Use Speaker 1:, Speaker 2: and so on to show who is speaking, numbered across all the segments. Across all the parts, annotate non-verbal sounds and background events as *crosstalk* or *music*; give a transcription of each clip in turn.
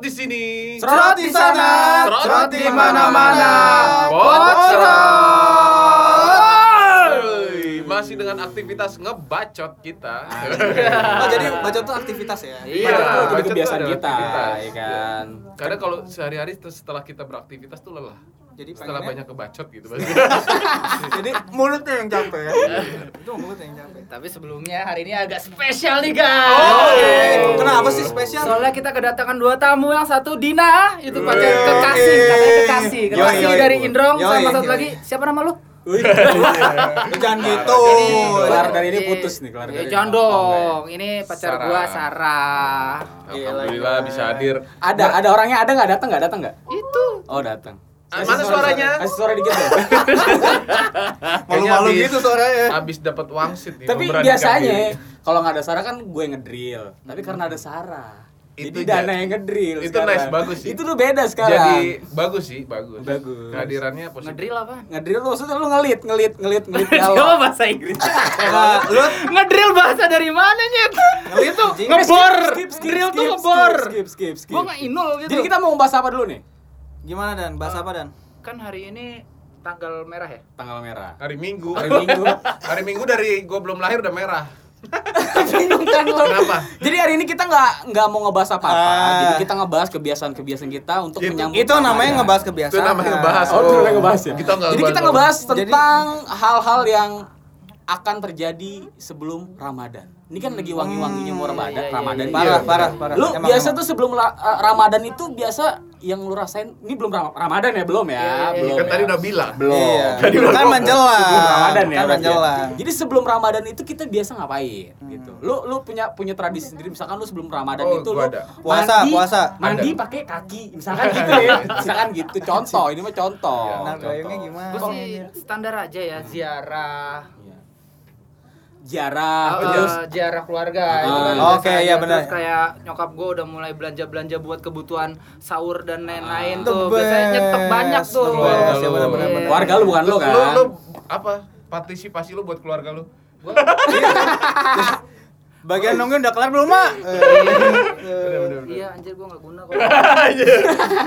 Speaker 1: di sini.
Speaker 2: Cerot di sana, cerot di mana-mana.
Speaker 1: Bocor. Masih dengan aktivitas ngebacot kita.
Speaker 2: Oh, jadi bacot tuh aktivitas ya?
Speaker 1: Iya,
Speaker 2: Bacot tuh
Speaker 1: bacot
Speaker 2: udah
Speaker 1: tuh
Speaker 2: kebiasaan
Speaker 1: ada
Speaker 2: kita,
Speaker 1: aktivitas.
Speaker 2: ya kan?
Speaker 1: Karena kalau sehari-hari terus setelah kita beraktivitas tuh lelah.
Speaker 2: Jadi
Speaker 1: Setelah
Speaker 2: pengennya-
Speaker 1: banyak kebacot gitu.
Speaker 2: *laughs* Jadi mulutnya yang capek ya? Itu mulutnya yang capek.
Speaker 3: Tapi sebelumnya hari ini agak spesial nih guys.
Speaker 1: Oke.
Speaker 4: Oh.
Speaker 2: Eh, Kenapa sih spesial?
Speaker 3: Soalnya kita kedatangan dua tamu, yang satu Dina, itu pacar
Speaker 2: Yoi.
Speaker 3: kekasih, katanya kekasih, kekasih
Speaker 2: Yoi, yoi.
Speaker 3: dari Indrong, sama
Speaker 2: Yoi,
Speaker 3: satu
Speaker 2: yoi.
Speaker 3: lagi siapa nama lu?
Speaker 2: Lu Jangan gitu.
Speaker 4: Kelar Iya. dari ini putus nih, kelar
Speaker 2: Iya,
Speaker 3: Eh,
Speaker 4: dari ini. Oh,
Speaker 3: Jangan dong, ini pacar
Speaker 1: Sarah.
Speaker 3: gua Sarah.
Speaker 4: Iya,
Speaker 1: Alhamdulillah bisa hadir.
Speaker 4: Ada, ada orangnya ada nggak datang nggak datang nggak?
Speaker 3: Itu.
Speaker 4: Oh datang.
Speaker 1: Ah,
Speaker 4: Kasih
Speaker 1: mana
Speaker 4: suara,
Speaker 1: suaranya?
Speaker 4: suara. Kasih suara dikit dong. Ah,
Speaker 2: Malu-malu
Speaker 1: Kayaknya
Speaker 2: gitu suaranya.
Speaker 1: Abis dapat wangsit nih.
Speaker 4: Tapi
Speaker 1: memberanikan
Speaker 4: biasanya
Speaker 1: diri.
Speaker 4: kalau nggak ada Sarah kan gue ngedrill. Tapi karena ada Sarah,
Speaker 1: Itu
Speaker 4: jadi
Speaker 1: ja-
Speaker 4: Dana yang ngedrill.
Speaker 1: itu
Speaker 4: sekarang.
Speaker 1: nice, bagus sih.
Speaker 4: Itu tuh beda sekarang.
Speaker 1: Jadi bagus sih, bagus.
Speaker 4: Bagus.
Speaker 1: Kehadirannya positif.
Speaker 3: Ngedrill apa?
Speaker 4: ngedrill tuh maksudnya lu ngelit, ngelit, ngelit, ngelit
Speaker 1: *laughs*
Speaker 3: *laughs* Coba
Speaker 4: galau.
Speaker 3: bahasa Inggris.
Speaker 2: Nah, Lu
Speaker 3: Ngedrill bahasa dari mana nyet? Itu
Speaker 2: anjing.
Speaker 3: ngebor.
Speaker 4: Skip, skip,
Speaker 3: Drill
Speaker 4: skip,
Speaker 3: tuh
Speaker 4: skip,
Speaker 3: ngebor.
Speaker 4: Skip, skip, skip.
Speaker 3: Gua nggak inul gitu.
Speaker 4: Jadi kita mau bahas apa dulu nih?
Speaker 2: Gimana Dan? Bahas apa Dan?
Speaker 3: kan hari ini tanggal merah ya?
Speaker 4: Tanggal
Speaker 1: *laughs*
Speaker 4: merah.
Speaker 1: Hari Minggu.
Speaker 4: Hari Minggu.
Speaker 1: *laughs* Hari Minggu dari gue belum lahir udah merah.
Speaker 4: Bingung kan lo?
Speaker 1: Kenapa?
Speaker 4: Jadi hari ini kita nggak nggak mau ngebahas apa-apa.
Speaker 2: Ah.
Speaker 4: Jadi kita ngebahas kebiasaan-kebiasaan kita untuk
Speaker 1: Itu-
Speaker 4: menyambut
Speaker 2: Itu namanya
Speaker 4: Ramadan.
Speaker 2: ngebahas kebiasaan.
Speaker 1: Itu namanya ngebahas.
Speaker 4: Oh, itu namanya ngebahas ya?
Speaker 1: Kita nggak
Speaker 4: Jadi kita
Speaker 1: bahas-
Speaker 4: ngebahas
Speaker 2: Jadi-
Speaker 4: tentang hal-hal yang akan terjadi sebelum Ramadan. Ini kan lagi wangi-wanginya mau Ramadan,
Speaker 3: iya, iya,
Speaker 4: Ramadan
Speaker 3: iya,
Speaker 2: Parah,
Speaker 4: banget.
Speaker 2: parah, parah.
Speaker 4: Lu
Speaker 2: Emang,
Speaker 4: biasa
Speaker 2: emang.
Speaker 4: tuh sebelum ra- eh, Ramadan itu biasa yang lu rasain ini belum Ram- Ramadan ya, belum ya,
Speaker 3: Iya, iya, iya.
Speaker 4: belum.
Speaker 1: Kan
Speaker 4: ya.
Speaker 1: tadi udah bilang.
Speaker 2: Iya.
Speaker 1: Jadi udah
Speaker 2: Kan
Speaker 1: ngomong.
Speaker 4: Sebelum
Speaker 2: menjelang.
Speaker 4: Ramadan ya.
Speaker 2: Kan
Speaker 4: berarti ya.
Speaker 2: menjelang. Hmm.
Speaker 4: Jadi sebelum Ramadan itu kita biasa ngapain gitu. Lu lu punya punya tradisi sendiri misalkan lu sebelum Ramadan
Speaker 1: Oh,
Speaker 4: itu lu
Speaker 1: gua ada.
Speaker 2: Puasa,
Speaker 4: mandi,
Speaker 2: puasa.
Speaker 4: Mandi pakai kaki misalkan gitu ya. misalkan gitu contoh, ini mah contoh.
Speaker 1: Iya.
Speaker 2: Nah,
Speaker 4: Contoh.
Speaker 2: gayungnya gimana?
Speaker 3: Gue sih standar aja ya ziarah.
Speaker 4: Iya. Jarah
Speaker 1: Ah,
Speaker 3: Eh,
Speaker 4: Ah, terus
Speaker 1: iya.
Speaker 3: ziarah keluarga
Speaker 4: Ah.
Speaker 3: itu kan biasa
Speaker 2: Oke,
Speaker 3: aja.
Speaker 2: iya benar.
Speaker 3: Terus kayak nyokap gue udah mulai belanja-belanja buat kebutuhan sahur dan lain-lain
Speaker 4: Ah.
Speaker 3: tuh.
Speaker 2: The
Speaker 3: Biasanya nyetok
Speaker 2: best,
Speaker 3: banyak
Speaker 2: the
Speaker 3: tuh.
Speaker 2: best.
Speaker 1: Iya, benar-benar,
Speaker 3: Iya.
Speaker 1: benar.
Speaker 4: keluarga lu bukan lu kan.
Speaker 1: Lu, lu apa? Partisipasi lu buat keluarga lu.
Speaker 2: Bagian nungguin udah kelar belum, Mak? Eh,
Speaker 1: Bener, bener, bener.
Speaker 3: Iya,
Speaker 1: *laughs*
Speaker 3: anjir gue gak guna kok.
Speaker 1: Iya.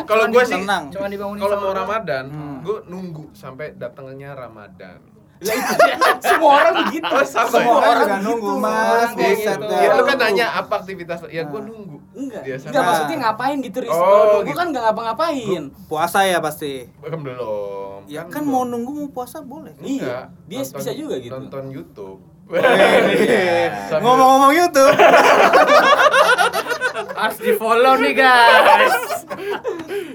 Speaker 1: Kalau gue sih
Speaker 2: Tenang.
Speaker 3: Cuma dibangunin
Speaker 1: kalau
Speaker 3: sama
Speaker 1: mau
Speaker 3: orang.
Speaker 1: Ramadan,
Speaker 4: Hmm.
Speaker 1: gue nunggu sampai datangnya Ramadan.
Speaker 4: Lah, itu- semua orang begitu.
Speaker 1: Oh, sama
Speaker 4: semua
Speaker 1: ya?
Speaker 4: orang
Speaker 2: juga
Speaker 4: gitu.
Speaker 2: nunggu, Mas. Iya,
Speaker 3: Orang
Speaker 2: Buset
Speaker 3: gitu.
Speaker 2: dah.
Speaker 1: Ya lu kan nanya apa aktivitas lu? ya gue nunggu.
Speaker 4: Nah. Enggak.
Speaker 1: Biasa.
Speaker 4: Enggak
Speaker 2: Nah.
Speaker 4: maksudnya ngapain gitu Riz.
Speaker 1: Oh,
Speaker 4: Lu- lu
Speaker 1: gitu.
Speaker 4: kan enggak ngapa-ngapain.
Speaker 2: Puasa ya pasti.
Speaker 1: Kan belum.
Speaker 2: Ya kan mau nunggu mau puasa boleh. kan?
Speaker 4: Iya.
Speaker 1: Enggak.
Speaker 4: Dia
Speaker 1: Nonton-
Speaker 4: bisa juga gitu. Iya.
Speaker 1: Nonton YouTube.
Speaker 2: Eh,
Speaker 1: Sambil-
Speaker 2: Ngomong-ngomong YouTube.
Speaker 3: Harus di follow nih guys.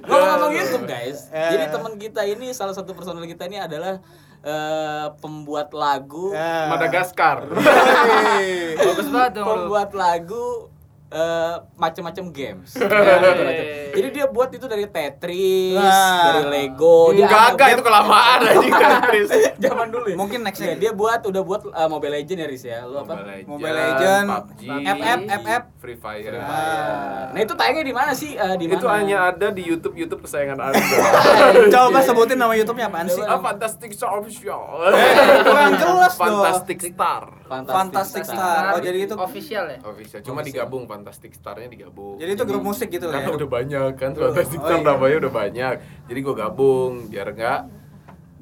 Speaker 4: Ngomong-ngomong YouTube guys,
Speaker 2: Eh.
Speaker 4: jadi teman kita ini salah satu personel kita ini adalah eh, pembuat lagu,
Speaker 2: Ya.
Speaker 4: *laughs*
Speaker 1: Madagaskar.
Speaker 2: Hei.
Speaker 3: Bagus banget dong lu.
Speaker 4: pembuat lagu eh, macam-macam games.
Speaker 3: Eh.
Speaker 4: Jadi dia buat itu dari Tetris,
Speaker 2: Wah.
Speaker 4: dari Lego. Oh, Dia ada
Speaker 1: Kagak itu
Speaker 4: game
Speaker 1: kelamaan anjing Tetris.
Speaker 4: *laughs* zaman dulu. ya?
Speaker 2: Mungkin next
Speaker 4: Iya,
Speaker 2: next.
Speaker 4: dia buat udah buat eh, Mobile Legends ya Riz ya. Lu apa?
Speaker 2: Mobile Legend,
Speaker 1: PUBG,
Speaker 4: FF FF.
Speaker 1: Free Fire.
Speaker 4: Nah, itu tayangnya di mana sih? Eh, di mana?
Speaker 5: Itu hanya ada di YouTube YouTube kesayangan
Speaker 4: *laughs*
Speaker 5: Anda.
Speaker 2: Coba sebutin nama YouTube-nya apaan sih?
Speaker 5: ah, Fantastic Show Show.
Speaker 4: Eh,
Speaker 2: kurang jelas dong.
Speaker 5: Fantastic Star.
Speaker 2: Fantastic Star. Oh, jadi itu
Speaker 3: official ya?
Speaker 1: Oh bisa, cuma digabung Fantastic Star-nya digabung.
Speaker 2: jadi itu grup musik gitu
Speaker 5: Karena
Speaker 2: ya.
Speaker 5: udah banyak kan Fantastic
Speaker 2: Oh,
Speaker 5: Star
Speaker 2: iya.
Speaker 5: namanya udah banyak. Jadi gua gabung biar enggak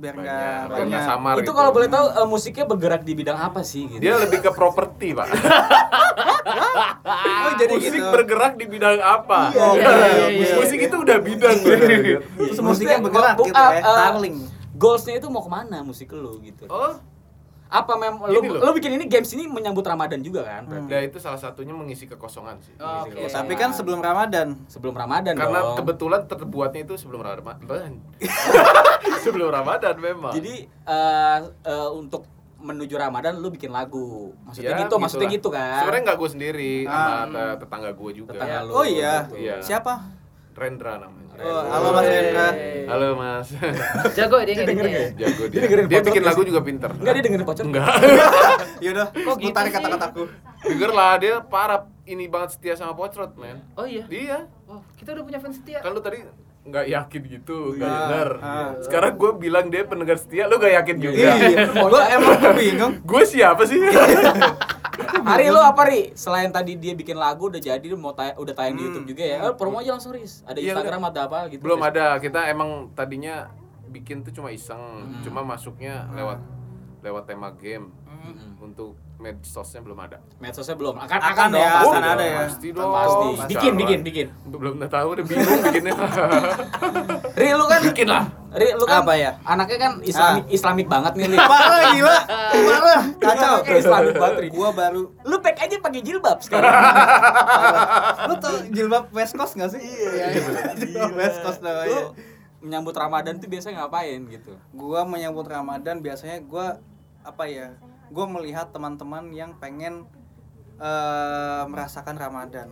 Speaker 2: Biar enggak
Speaker 5: banyak, biar
Speaker 2: banyak.
Speaker 5: nggak samar
Speaker 4: Itu
Speaker 5: gitu.
Speaker 4: kalau boleh tahu eh, musiknya bergerak di bidang apa sih gitu.
Speaker 5: dia lebih ke properti, Pak.
Speaker 2: Oh, jadi
Speaker 5: musik
Speaker 2: gitu.
Speaker 5: bergerak di bidang apa?
Speaker 2: Iya, iya, iya, iya.
Speaker 5: musik itu udah bidang. bener.
Speaker 2: Terus musiknya bergerak
Speaker 4: bu-
Speaker 2: gitu ya.
Speaker 4: ah, ah,
Speaker 2: Tarling.
Speaker 4: Goalsnya itu mau kemana musik lu gitu?
Speaker 5: oh,
Speaker 4: Apa mem lu,
Speaker 5: Gini loh.
Speaker 4: lu bikin ini games ini menyambut Ramadan juga kan? Berarti
Speaker 1: Nah, itu salah satunya mengisi kekosongan sih.
Speaker 3: Oh,
Speaker 1: Mengisi
Speaker 3: oke.
Speaker 1: kekosongan.
Speaker 2: Tapi kan sebelum Ramadan.
Speaker 4: sebelum Ramadan
Speaker 1: Karena
Speaker 4: iya dong.
Speaker 1: kebetulan terbuatnya itu sebelum Ramadan. sebelum Ramadan memang.
Speaker 4: Jadi eh, eh, untuk menuju Ramadan lu bikin lagu. Maksudnya
Speaker 1: Ya,
Speaker 4: gitu, maksudnya
Speaker 1: gitulah.
Speaker 4: gitu kan.
Speaker 1: Sebenarnya nggak gue sendiri, sama te- tetangga gue juga.
Speaker 4: Tetangga lu. gitu.
Speaker 2: Oh iya.
Speaker 1: Iya.
Speaker 2: Siapa?
Speaker 1: Rendra namanya.
Speaker 2: Oh, halo Mas Rendra.
Speaker 1: Halo *laughs* Mas.
Speaker 3: Jago ya dia ngeditnya.
Speaker 2: ya?
Speaker 1: Jago dia.
Speaker 4: dengerin
Speaker 1: Dia
Speaker 4: podcast
Speaker 1: bikin
Speaker 4: nggak
Speaker 1: lagu
Speaker 4: sih?
Speaker 1: juga pinter.
Speaker 4: Enggak dia dengerin pocong. *laughs*
Speaker 1: Enggak.
Speaker 2: Yaudah,
Speaker 3: Kok gitu
Speaker 2: tarik
Speaker 3: sih?
Speaker 2: kata-kataku.
Speaker 1: Denger lah dia parah ini banget setia sama Pocrot, men.
Speaker 3: Oh iya.
Speaker 1: Iya.
Speaker 3: Wah, kita udah punya fans setia.
Speaker 1: Kan lu tadi nggak yakin gitu, nggak
Speaker 4: Iya.
Speaker 2: Ah,
Speaker 1: denger.
Speaker 2: ah.
Speaker 1: Sekarang gue bilang Iya. *laughs*
Speaker 4: Iya.
Speaker 1: dia pendengar setia, lu nggak yakin juga.
Speaker 4: *laughs*
Speaker 2: Iya, gua emang bingung.
Speaker 5: gue siapa sih?
Speaker 4: Ari lu apa Ri? Selain tadi dia bikin lagu udah jadi mau tay- udah tayang di
Speaker 1: Hmm.
Speaker 4: YouTube juga ya. Eh, promo aja langsung Riz. Ada
Speaker 1: Iya,
Speaker 4: Instagram ada apa gitu.
Speaker 1: Belum ada. Kita emang tadinya bikin tuh cuma iseng,
Speaker 4: Hmm.
Speaker 1: cuma masuknya lewat lewat tema game.
Speaker 4: Hmm.
Speaker 1: Untuk medsosnya belum ada.
Speaker 4: Medsosnya belum. Akan
Speaker 2: Akan
Speaker 4: akan, dong,
Speaker 2: ya,
Speaker 4: pasti
Speaker 2: akan
Speaker 4: dong.
Speaker 2: ada ya.
Speaker 1: Pasti dong.
Speaker 4: Pasti.
Speaker 1: Masa
Speaker 4: Bikin
Speaker 1: lah.
Speaker 4: bikin bikin.
Speaker 1: Belum tahu udah bingung
Speaker 4: *laughs*
Speaker 1: bikinnya.
Speaker 4: Ri lu kan
Speaker 1: bikin lah.
Speaker 4: Ri lu kan
Speaker 2: Apa ya?
Speaker 4: Anaknya kan Islamik Islamik banget nih Ri.
Speaker 2: Parah gila. Parah. Kacau.
Speaker 4: Anaknya Islamik banget Ri.
Speaker 2: Gua baru
Speaker 4: Lu pack aja pakai jilbab
Speaker 2: *laughs*
Speaker 4: sekarang.
Speaker 2: Lu tau jilbab West Coast gak sih? Iya, *laughs* jilbab West Coast namanya.
Speaker 4: lu menyambut Ramadan tuh biasanya ngapain gitu?
Speaker 2: Gua menyambut Ramadan biasanya gua apa ya? Gua melihat teman-teman yang pengen eh, merasakan Ramadan.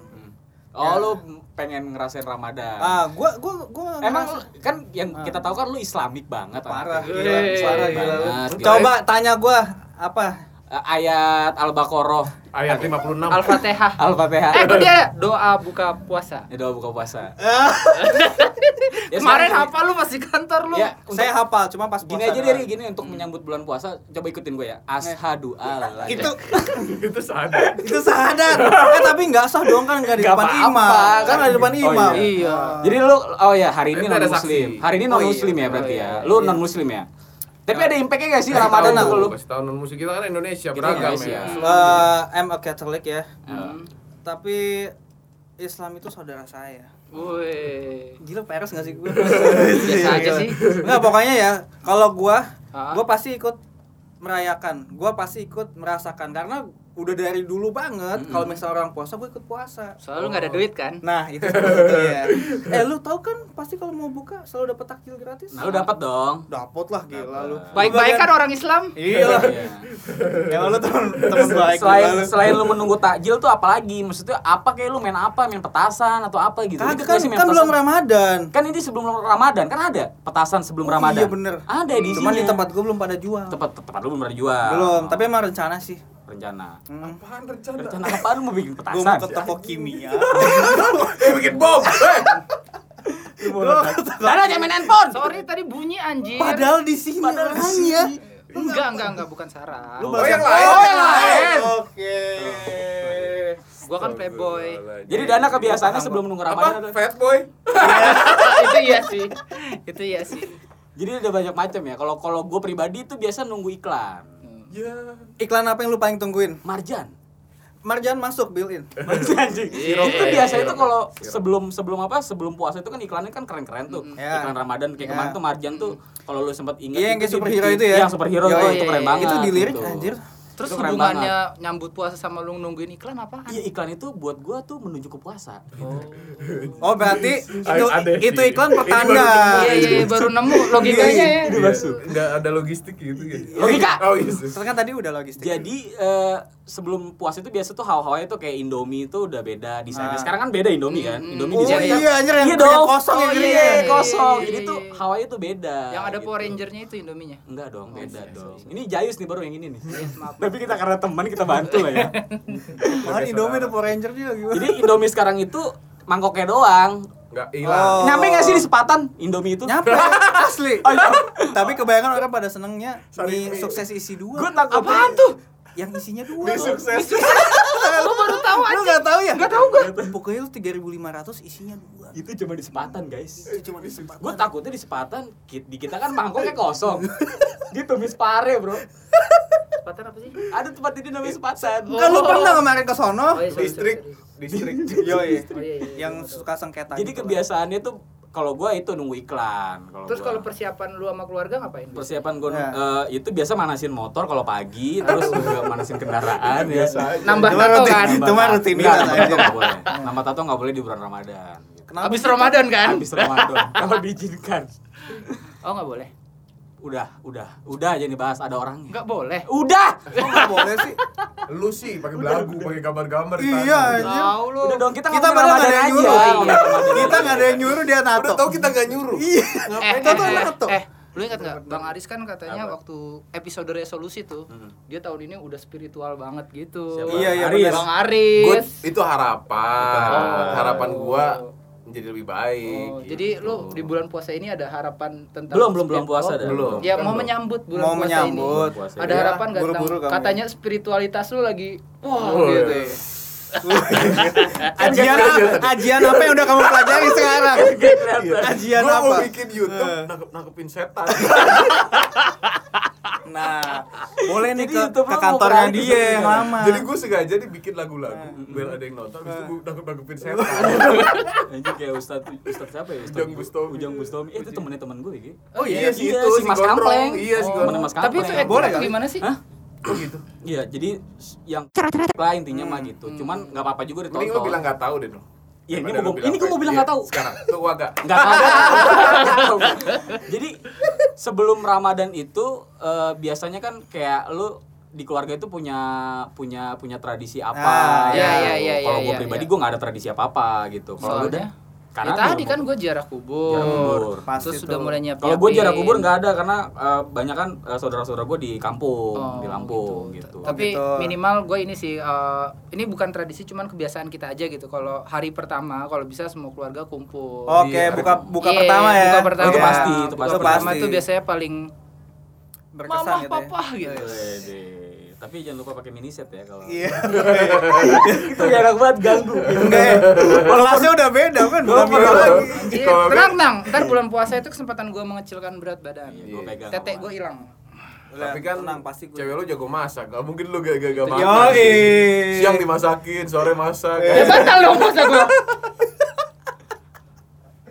Speaker 4: Oh,
Speaker 2: Ya.
Speaker 4: lu pengen ngerasain Ramadan.
Speaker 2: Ah, gua gua gua
Speaker 4: Emang
Speaker 2: ngerasa- Ah.
Speaker 4: lu- kan yang kita tahu kan lu Islamik banget
Speaker 2: parah
Speaker 4: anaknya.
Speaker 2: gila,
Speaker 3: Yeay.
Speaker 2: parah gila.
Speaker 4: Banget,
Speaker 2: Lu
Speaker 4: gila.
Speaker 2: Coba tanya gua apa?
Speaker 4: Eh, Ayat Al-Baqarah,
Speaker 1: Ayat 56.
Speaker 3: Al-Fatihah.
Speaker 4: Al-Fatihah.
Speaker 2: *laughs*
Speaker 3: Eh itu dia doa buka puasa.
Speaker 4: Ya doa buka puasa. Ya,
Speaker 3: Kemarin
Speaker 4: sekarang-
Speaker 3: apa lu masih kantor lu?
Speaker 4: Ya,
Speaker 2: Saya
Speaker 4: untuk-
Speaker 2: hafal, cuma pas
Speaker 4: Gini
Speaker 2: puasa
Speaker 4: aja
Speaker 2: doang. Hmm. Eh.
Speaker 4: deh, Ri, gini untuk menyambut bulan puasa, coba ikutin gue ya. Ashadu alla
Speaker 2: Itu
Speaker 1: itu sadar.
Speaker 2: itu sadar. Eh tapi nggak sah dong kan nggak di
Speaker 4: Nggak
Speaker 2: depan
Speaker 4: apa-apa,
Speaker 2: imam. Kan
Speaker 4: kan.
Speaker 2: ada di depan
Speaker 4: Oh,
Speaker 2: imam.
Speaker 4: iya.
Speaker 3: Iya.
Speaker 4: Jadi lu oh ya hari ini
Speaker 1: Itu ada
Speaker 4: non muslim.
Speaker 1: saksi.
Speaker 4: Hari ini
Speaker 2: Oh,
Speaker 4: non muslim
Speaker 2: iya.
Speaker 4: ya berarti
Speaker 3: Oh, iya.
Speaker 4: ya. Lu non muslim ya. Tapi ada impact-nya gak sih Ramadan
Speaker 1: Kasih
Speaker 4: aku
Speaker 1: tahu,
Speaker 4: lu?
Speaker 1: kasih tahu non musik kita kan Indonesia
Speaker 4: Kita
Speaker 1: beragam
Speaker 4: Indonesia.
Speaker 1: ya.
Speaker 2: Eh, I'm a Catholic ya.
Speaker 4: Eh,
Speaker 3: Hmm.
Speaker 2: Tapi Islam itu saudara saya.
Speaker 3: Woi.
Speaker 2: Gila peres gak
Speaker 4: *laughs*
Speaker 2: sih gue?
Speaker 3: Biasa aja sih.
Speaker 2: Enggak pokoknya ya, kalau gua
Speaker 3: Ah.
Speaker 2: gua pasti ikut merayakan. Gua pasti ikut merasakan karena udah dari dulu banget kalau misalnya orang puasa gua ikut puasa.
Speaker 3: Soalnya lu nggak ada duit kan?
Speaker 2: Nah, itu
Speaker 4: *laughs*
Speaker 2: sebetulnya. Eh, lu tau kan pasti kalau mau buka selalu dapat takjil gratis.
Speaker 4: Nah, lu dapat dong.
Speaker 2: Dapet lah gila lu.
Speaker 3: Baik-baik kan orang Islam?
Speaker 2: Iya
Speaker 4: *laughs*
Speaker 2: lah. Ya lu temen temen baik
Speaker 4: selain
Speaker 2: gila lu.
Speaker 4: selain lu menunggu takjil tuh apalagi maksudnya apa kayak lu main apa main petasan atau apa gitu
Speaker 2: Kagak
Speaker 4: Ikut
Speaker 2: kan,
Speaker 4: nggak sih main
Speaker 2: kan belum
Speaker 4: petasan?
Speaker 2: Ramadan.
Speaker 4: kan ini sebelum Ramadan kan ada petasan sebelum
Speaker 2: Oh, Iya
Speaker 4: Ramadan
Speaker 2: bener.
Speaker 4: ada di
Speaker 2: Cuman
Speaker 4: sini
Speaker 2: di tempat gua belum pada jual.
Speaker 4: tempat tempat lu belum pernah jual
Speaker 2: Belum, tapi emang rencana sih.
Speaker 4: rencana
Speaker 2: Hmm.
Speaker 1: Apaan rencana?
Speaker 4: rencana apaan lu mau bikin
Speaker 2: Gua mau
Speaker 4: petasan
Speaker 2: ke toko kimia.
Speaker 4: *laughs*
Speaker 1: Eh bikin *laughs* bom.
Speaker 2: Oh,
Speaker 1: Eh,
Speaker 4: ada jamin handphone
Speaker 3: Sorry tadi bunyi anjir.
Speaker 2: *laughs* Padahal di sini.
Speaker 4: Padahal di sini.
Speaker 2: orangnya.
Speaker 3: enggak enggak enggak bukan sarah.
Speaker 4: Lu
Speaker 1: Oh yang
Speaker 4: Oh,
Speaker 1: lain.
Speaker 4: yang lain.
Speaker 2: Oke.
Speaker 3: Gua kan playboy. *laughs*
Speaker 4: jadi dana kebiasaannya sebelum menunggu
Speaker 1: apa?
Speaker 4: Ramadan ada-
Speaker 1: Fat boy.
Speaker 3: itu iya sih. Itu iya sih.
Speaker 4: jadi ada banyak macam ya kalau kalau gue pribadi tuh biasa nunggu iklan
Speaker 1: Ya.
Speaker 2: Iklan apa yang lu paling tungguin? *laughs*
Speaker 4: marjan
Speaker 2: Marjan masuk bill in.
Speaker 4: Anjing.
Speaker 3: Sirop.
Speaker 4: itu biasa
Speaker 3: iya.
Speaker 1: Sirop.
Speaker 4: itu kalau
Speaker 1: Sirop.
Speaker 4: sebelum sebelum apa sebelum puasa itu kan iklannya kan keren-keren tuh
Speaker 2: Mm. Ya.
Speaker 4: iklan Ramadan
Speaker 2: Ya.
Speaker 4: kayak kemarin tuh Marjan tuh kalau lu sempat ingat
Speaker 2: Iya, yang kayak
Speaker 4: itu di-
Speaker 2: superhero
Speaker 4: di-
Speaker 2: itu ya?
Speaker 4: yang superhero
Speaker 2: Yo,
Speaker 4: tuh
Speaker 3: iya,
Speaker 4: itu keren
Speaker 3: iya.
Speaker 4: banget
Speaker 2: Itu dilirik
Speaker 4: gitu.
Speaker 2: anjir.
Speaker 3: Terus
Speaker 4: Itu keren
Speaker 3: hubungannya nyambut puasa sama lu nungguin iklan apaan?
Speaker 4: iya iklan itu buat gua tuh menuju ke puasa
Speaker 2: Oh berarti itu,
Speaker 1: Ada sih.
Speaker 2: itu iklan
Speaker 4: iya,
Speaker 1: Ini
Speaker 2: pertanda.
Speaker 1: baru
Speaker 3: Iya iya iya, baru nemu logikanya ya.
Speaker 1: Iya, Nggak ada logistik gitu ya.
Speaker 4: Logika.
Speaker 1: Oh iya. sih.
Speaker 2: Terus kan tadi udah logistik.
Speaker 4: jadi eh, sebelum puasa itu biasa tuh hawa-hawanya tuh kayak Indomie itu udah beda desainnya
Speaker 2: Ah.
Speaker 4: sekarang kan beda Indomie kan
Speaker 2: Oh
Speaker 4: Indomie desainnya
Speaker 2: iya, anjir, yang-
Speaker 4: iya dong.
Speaker 2: yang kosong
Speaker 4: oh,
Speaker 2: yang gini
Speaker 4: iya,
Speaker 2: ya.
Speaker 4: kosong
Speaker 3: Iya,
Speaker 4: jadi
Speaker 3: iya,
Speaker 4: tuh
Speaker 3: iya.
Speaker 4: hawanya tuh beda
Speaker 3: Yang ada Power
Speaker 4: gitu.
Speaker 3: Ranger-nya itu Indominya.
Speaker 4: Enggak dong,
Speaker 2: Oh,
Speaker 4: beda
Speaker 2: iya,
Speaker 3: sorry,
Speaker 4: dong.
Speaker 3: sorry,
Speaker 4: Ini Jayus nih baru yang ini nih.
Speaker 3: maaf.
Speaker 4: Tapi kita karena teman kita bantu lah
Speaker 2: *laughs*
Speaker 4: ya.
Speaker 2: Malah Indomie ada Power Ranger juga gimana?
Speaker 4: Jadi Indomie sekarang itu mangkoknya doang.
Speaker 1: Nggak hilang.
Speaker 2: Oh.
Speaker 4: Nyampe nggak sih di sepatan Indomie itu?
Speaker 2: nyampe asli.
Speaker 4: *laughs*
Speaker 2: Tapi kebanyakan orang pada senengnya mie sukses isi dua.
Speaker 4: Gue takut.
Speaker 2: Apaan tuh? Yang isinya
Speaker 1: Ini
Speaker 2: dua.
Speaker 1: sukses.
Speaker 3: Lu baru tahu
Speaker 2: Lu
Speaker 3: anjir.
Speaker 2: nggak tahu ya? Iya.
Speaker 3: Nggak tahu
Speaker 2: gue. Pokoknya lu 3500 isinya dua.
Speaker 4: Itu cuma di sepatan guys.
Speaker 2: Itu cuma di sempat.
Speaker 4: Gue takutnya di sepatan ki- di kita kan mangkoknya
Speaker 2: *laughs*
Speaker 4: kosong. Dia tumis pare bro.
Speaker 3: Paten apa sih?
Speaker 4: Ada tempat ini namanya sepatan.
Speaker 2: Kan lu pernah kemarin ke sono?
Speaker 3: Oh, iya, sorry,
Speaker 1: Distrik.
Speaker 3: sorry, sorry.
Speaker 1: Distrik.
Speaker 2: Yo,
Speaker 3: Oh, iya, iya, iya,
Speaker 2: yang
Speaker 3: betul.
Speaker 2: suka sengketa.
Speaker 4: Jadi
Speaker 2: gitu lah.
Speaker 4: kebiasaannya tuh kalau gue itu nunggu iklan.
Speaker 3: Terus
Speaker 4: gua.
Speaker 3: kalau persiapan lu sama keluarga ngapain?
Speaker 4: persiapan gue
Speaker 2: Ya.
Speaker 4: itu biasa manasin motor kalau
Speaker 2: *laughs*
Speaker 4: pagi terus juga manasin kendaraan ya
Speaker 1: Biasa aja.
Speaker 3: Nambah
Speaker 2: Itu mah
Speaker 3: tato
Speaker 2: rutin.
Speaker 3: kan.
Speaker 2: Iya, Itu mah rutinitas
Speaker 4: Nggak, nambah tato
Speaker 2: aja.
Speaker 4: nggak boleh nama tato nggak boleh di bulan ramadan gitu.
Speaker 2: Kenapa?
Speaker 3: Habis Ramadan kan?
Speaker 4: habis ramadan *laughs* kalau diizinkan
Speaker 3: Oh, nggak boleh.
Speaker 4: udah udah udah aja nih bahas ada orangnya
Speaker 3: Nggak boleh.
Speaker 4: udah
Speaker 2: Kok nggak boleh sih?
Speaker 1: Lu sih pakai belagu, pakai gambar-gambar. di tangan.
Speaker 2: Iya, anjir.
Speaker 3: Tahu lu.
Speaker 4: udah dong kita
Speaker 2: Kita
Speaker 4: ngomongin
Speaker 2: padahal nggak ada
Speaker 4: Ramadan
Speaker 2: yang
Speaker 4: aja
Speaker 2: nyuruh.
Speaker 4: Ngomongin Ramadan.
Speaker 2: Kita nggak ada yang nyuruh dia nato.
Speaker 1: Udah tahu kita nggak nyuruh.
Speaker 2: Iya.
Speaker 3: eh,
Speaker 2: Tato
Speaker 3: eh, eh,
Speaker 2: nato.
Speaker 3: eh, lu ingat nggak Bang Aris kan katanya
Speaker 1: Apa?
Speaker 3: waktu episode resolusi tuh dia tahun ini udah spiritual banget gitu.
Speaker 4: Hmm. Siapa?
Speaker 2: Iya, iya,
Speaker 3: Aris.
Speaker 2: benar.
Speaker 3: Bang
Speaker 1: Gua-
Speaker 3: Aris.
Speaker 1: itu harapan.
Speaker 3: Oh.
Speaker 1: Harapan gua jadi lebih baik.
Speaker 3: Oh,
Speaker 1: gitu.
Speaker 3: jadi lu di bulan puasa ini ada harapan tentang
Speaker 4: Iya, Belum, belum, belum
Speaker 3: spirit-
Speaker 4: puasa Iya.
Speaker 3: oh,
Speaker 4: dah.
Speaker 1: Belum.
Speaker 3: Ya
Speaker 1: Kan
Speaker 3: mau
Speaker 1: belum.
Speaker 3: menyambut bulan
Speaker 2: Mau
Speaker 3: puasa
Speaker 2: menyambut.
Speaker 3: ini.
Speaker 4: Puasa
Speaker 3: Ada
Speaker 2: ini.
Speaker 3: harapan
Speaker 2: Ya,
Speaker 3: gak tentang
Speaker 2: buru-buru kamu.
Speaker 3: katanya spiritualitas lu lagi wah
Speaker 1: Oh,
Speaker 3: gitu.
Speaker 1: iya.
Speaker 2: ajian apa? Ajian apa yang udah kamu pelajari sekarang? Ajian
Speaker 1: Gua mau
Speaker 2: apa?
Speaker 1: bikin YouTube
Speaker 2: Eh.
Speaker 1: nangkep nangkepin setan.
Speaker 2: Nah, boleh nih
Speaker 4: Jadi
Speaker 2: ke,
Speaker 4: YouTube
Speaker 2: ke
Speaker 4: lo mau
Speaker 2: kantornya
Speaker 4: berani
Speaker 2: dia yang
Speaker 4: sebenarnya.
Speaker 2: lama.
Speaker 1: Jadi gue sengaja dibikin lagu-lagu
Speaker 4: Nah.
Speaker 1: biar ada yang nonton, habis itu gue nangkep-nangkepin setan.
Speaker 4: *laughs* Anjing kayak Ustaz Ustaz siapa ya? Ustaz
Speaker 1: Ujang Bustomi.
Speaker 4: Ujang Bustomi. Eh, itu temennya temen gue gitu.
Speaker 1: Oh iya,
Speaker 4: Iya,
Speaker 1: gitu
Speaker 4: si Mas
Speaker 1: Gondrong.
Speaker 4: Kampleng.
Speaker 1: Iya si
Speaker 4: Oh,
Speaker 1: Gondrong.
Speaker 4: temennya Mas
Speaker 3: Tapi itu
Speaker 4: Kampleng.
Speaker 3: acting
Speaker 2: Boleh
Speaker 3: atau
Speaker 2: kali?
Speaker 3: gimana sih?
Speaker 4: Hah?
Speaker 1: Oh gitu.
Speaker 4: Iya, jadi s- yang lah intinya mah gitu.
Speaker 2: Hmm.
Speaker 4: Cuman nggak apa-apa juga
Speaker 1: Mending lu bilang
Speaker 4: ditonton.
Speaker 1: nggak tahu deh dong.
Speaker 4: Iya, ini
Speaker 1: Daripada
Speaker 4: gua
Speaker 1: lu
Speaker 4: mau- ini gua mau
Speaker 1: apa.
Speaker 4: bilang
Speaker 1: Iya,
Speaker 4: nggak tahu.
Speaker 1: Sekarang tuh gua agak.
Speaker 4: Nggak tahu. *laughs* Jadi sebelum Ramadan itu eh, biasanya kan kayak lu di keluarga itu punya punya punya tradisi
Speaker 2: Ah,
Speaker 4: apa
Speaker 3: iya,
Speaker 4: gitu.
Speaker 3: iya, iya,
Speaker 4: kalau
Speaker 3: iya,
Speaker 4: gue
Speaker 3: iya,
Speaker 4: pribadi
Speaker 3: iya.
Speaker 4: gue nggak ada tradisi apa apa gitu kalau
Speaker 3: Soalnya?
Speaker 4: lu udah
Speaker 3: Ya, tadi kan gue ziarah kubur.
Speaker 4: Ziarah kubur.
Speaker 2: Pasti
Speaker 3: Terus sudah
Speaker 2: tuh.
Speaker 3: mulai nyiapin.
Speaker 4: Kalau gue jarak kubur nggak ada karena eh, banyak kan eh, saudara-saudara gue di kampung,
Speaker 3: Oh,
Speaker 4: di Lampung
Speaker 3: T-
Speaker 4: gitu.
Speaker 3: Tapi
Speaker 2: Gitu.
Speaker 3: minimal gue ini sih eh, ini bukan tradisi cuman kebiasaan kita aja gitu. Kalau hari pertama kalau bisa semua keluarga kumpul.
Speaker 2: Oke,
Speaker 1: Iya.
Speaker 2: buka Oh, buka
Speaker 3: Iya,
Speaker 2: pertama ya.
Speaker 3: Buka pertama.
Speaker 4: Oh, Itu pasti, itu
Speaker 3: Buka
Speaker 4: pasti.
Speaker 3: pertama
Speaker 2: Pasti.
Speaker 3: itu biasanya paling
Speaker 2: Berkesan
Speaker 3: mamah
Speaker 2: gitu. ya.
Speaker 3: papah gitu.
Speaker 4: Iya, Wede. Tapi jangan lupa pakai miniset ya kalau. *laughs*
Speaker 2: Iya.
Speaker 4: Itu gak enak banget
Speaker 3: *laughs*
Speaker 4: ganggu. Iya,
Speaker 2: Enggak. ya. Kelasnya udah beda kan. Belum lagi.
Speaker 3: Iya,
Speaker 1: Kalau
Speaker 3: tenang, tenang. Ntar bulan puasa itu kesempatan gue mengecilkan berat badan.
Speaker 4: Iya, gua pegang.
Speaker 3: Tetek gue hilang.
Speaker 1: Tapi kan
Speaker 2: tenang pasti gue.
Speaker 1: cewek lu jago masak, nggak mungkin lu gak gak
Speaker 4: Iya,
Speaker 1: masak.
Speaker 2: Yoi.
Speaker 1: Siang dimasakin, sore masak.
Speaker 3: Ya
Speaker 4: Iya.
Speaker 3: batal dong puasa gue.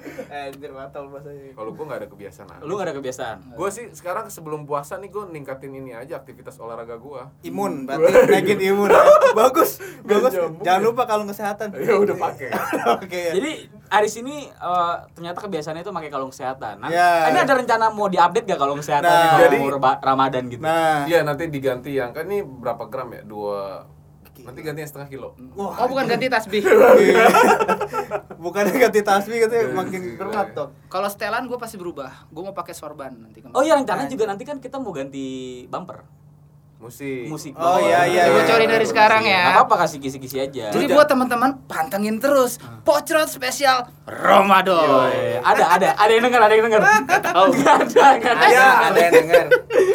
Speaker 2: Eh, anjir batal bahasanya.
Speaker 1: *laughs* Kalau gua nggak ada kebiasaan. aneh.
Speaker 4: Lu gak ada kebiasaan.
Speaker 1: Gua sih sekarang sebelum puasa nih gua ningkatin ini aja aktivitas olahraga gua.
Speaker 2: Imun, berarti naikin imun. ya. Bagus, bagus.
Speaker 1: nyambung
Speaker 2: Jangan
Speaker 1: ya.
Speaker 2: lupa kalung kesehatan.
Speaker 1: Ya udah pakai.
Speaker 2: *laughs* Oke. ya.
Speaker 4: Jadi Aris ini eh, ternyata kebiasaannya itu pakai kalung kesehatan. Nah,
Speaker 2: Ya.
Speaker 4: Ini ada rencana mau diupdate gak kalung kesehatan
Speaker 2: Nah.
Speaker 4: kalau
Speaker 1: Jadi-
Speaker 4: mau Reba- Ramadan gitu?
Speaker 2: Nah,
Speaker 1: Iya nanti diganti yang kan ini berapa gram ya? Dua. Nanti ganti yang setengah kilo.
Speaker 4: Hmm.
Speaker 2: Wah,
Speaker 3: Oh bukan ganti tasbih.
Speaker 4: *laughs*
Speaker 2: Iya. *laughs* bukan ganti tasbih gitu ya, makin berat dong.
Speaker 3: Kalau setelan gue pasti berubah. Gue mau pakai sorban nanti.
Speaker 4: Oh iya rencananya juga nanti kan kita mau ganti bumper
Speaker 1: Musik.
Speaker 4: musik.
Speaker 2: Oh,
Speaker 4: bawaan.
Speaker 2: iya, iya,
Speaker 3: Bocorin
Speaker 2: iya.
Speaker 3: dari sekarang ya.
Speaker 4: Gak apa-apa kasih kisi-kisi aja.
Speaker 3: Jadi buat teman-teman pantengin terus
Speaker 4: Ah.
Speaker 3: Pocrot spesial Ramadan.
Speaker 4: Eh, ada ada ada yang dengar ada
Speaker 3: *laughs*
Speaker 4: yang dengar.
Speaker 3: tahu. Iya.
Speaker 4: Gak ada gak ada.
Speaker 2: Ada, ada yang denger.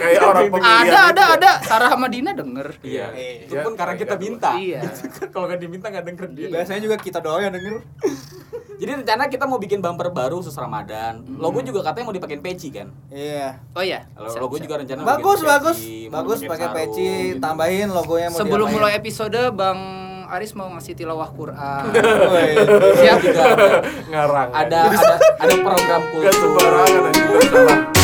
Speaker 1: Kayak orang pemilihan.
Speaker 3: Ada ada
Speaker 1: gitu.
Speaker 3: ada Sarah Madina denger.
Speaker 4: Iya.
Speaker 2: Iya.
Speaker 4: Itu pun karena
Speaker 1: Iya.
Speaker 4: kita minta. *laughs* Gitu kan,
Speaker 3: Iya.
Speaker 4: Kalau nggak diminta nggak denger dia.
Speaker 2: Iya, Biasanya juga kita doang yang denger.
Speaker 4: Jadi rencana kita mau bikin bumper baru khusus Ramadan.
Speaker 3: Hmm.
Speaker 4: Logo juga katanya mau dipakein peci kan.
Speaker 2: Iya.
Speaker 3: Oh iya.
Speaker 4: Kalau
Speaker 3: bisa,
Speaker 4: logo
Speaker 3: bisa.
Speaker 4: juga rencana mau
Speaker 2: Bagus,
Speaker 4: bikin peci,
Speaker 2: bagus.
Speaker 4: mau
Speaker 2: Bagus
Speaker 4: bikin
Speaker 2: pakai
Speaker 4: sarung,
Speaker 2: peci,
Speaker 4: gitu.
Speaker 2: tambahin logonya mau
Speaker 3: Sebelum
Speaker 2: diapain.
Speaker 3: mulai episode Bang Aris mau ngasih tilawah Quran.
Speaker 4: *laughs*
Speaker 2: Woi.
Speaker 3: *laughs*
Speaker 4: Siap juga.
Speaker 1: *laughs* Ngarang.
Speaker 4: Ada ada ada program
Speaker 1: Gak
Speaker 4: kultur.
Speaker 1: sembarangan. anjing. Gak salah.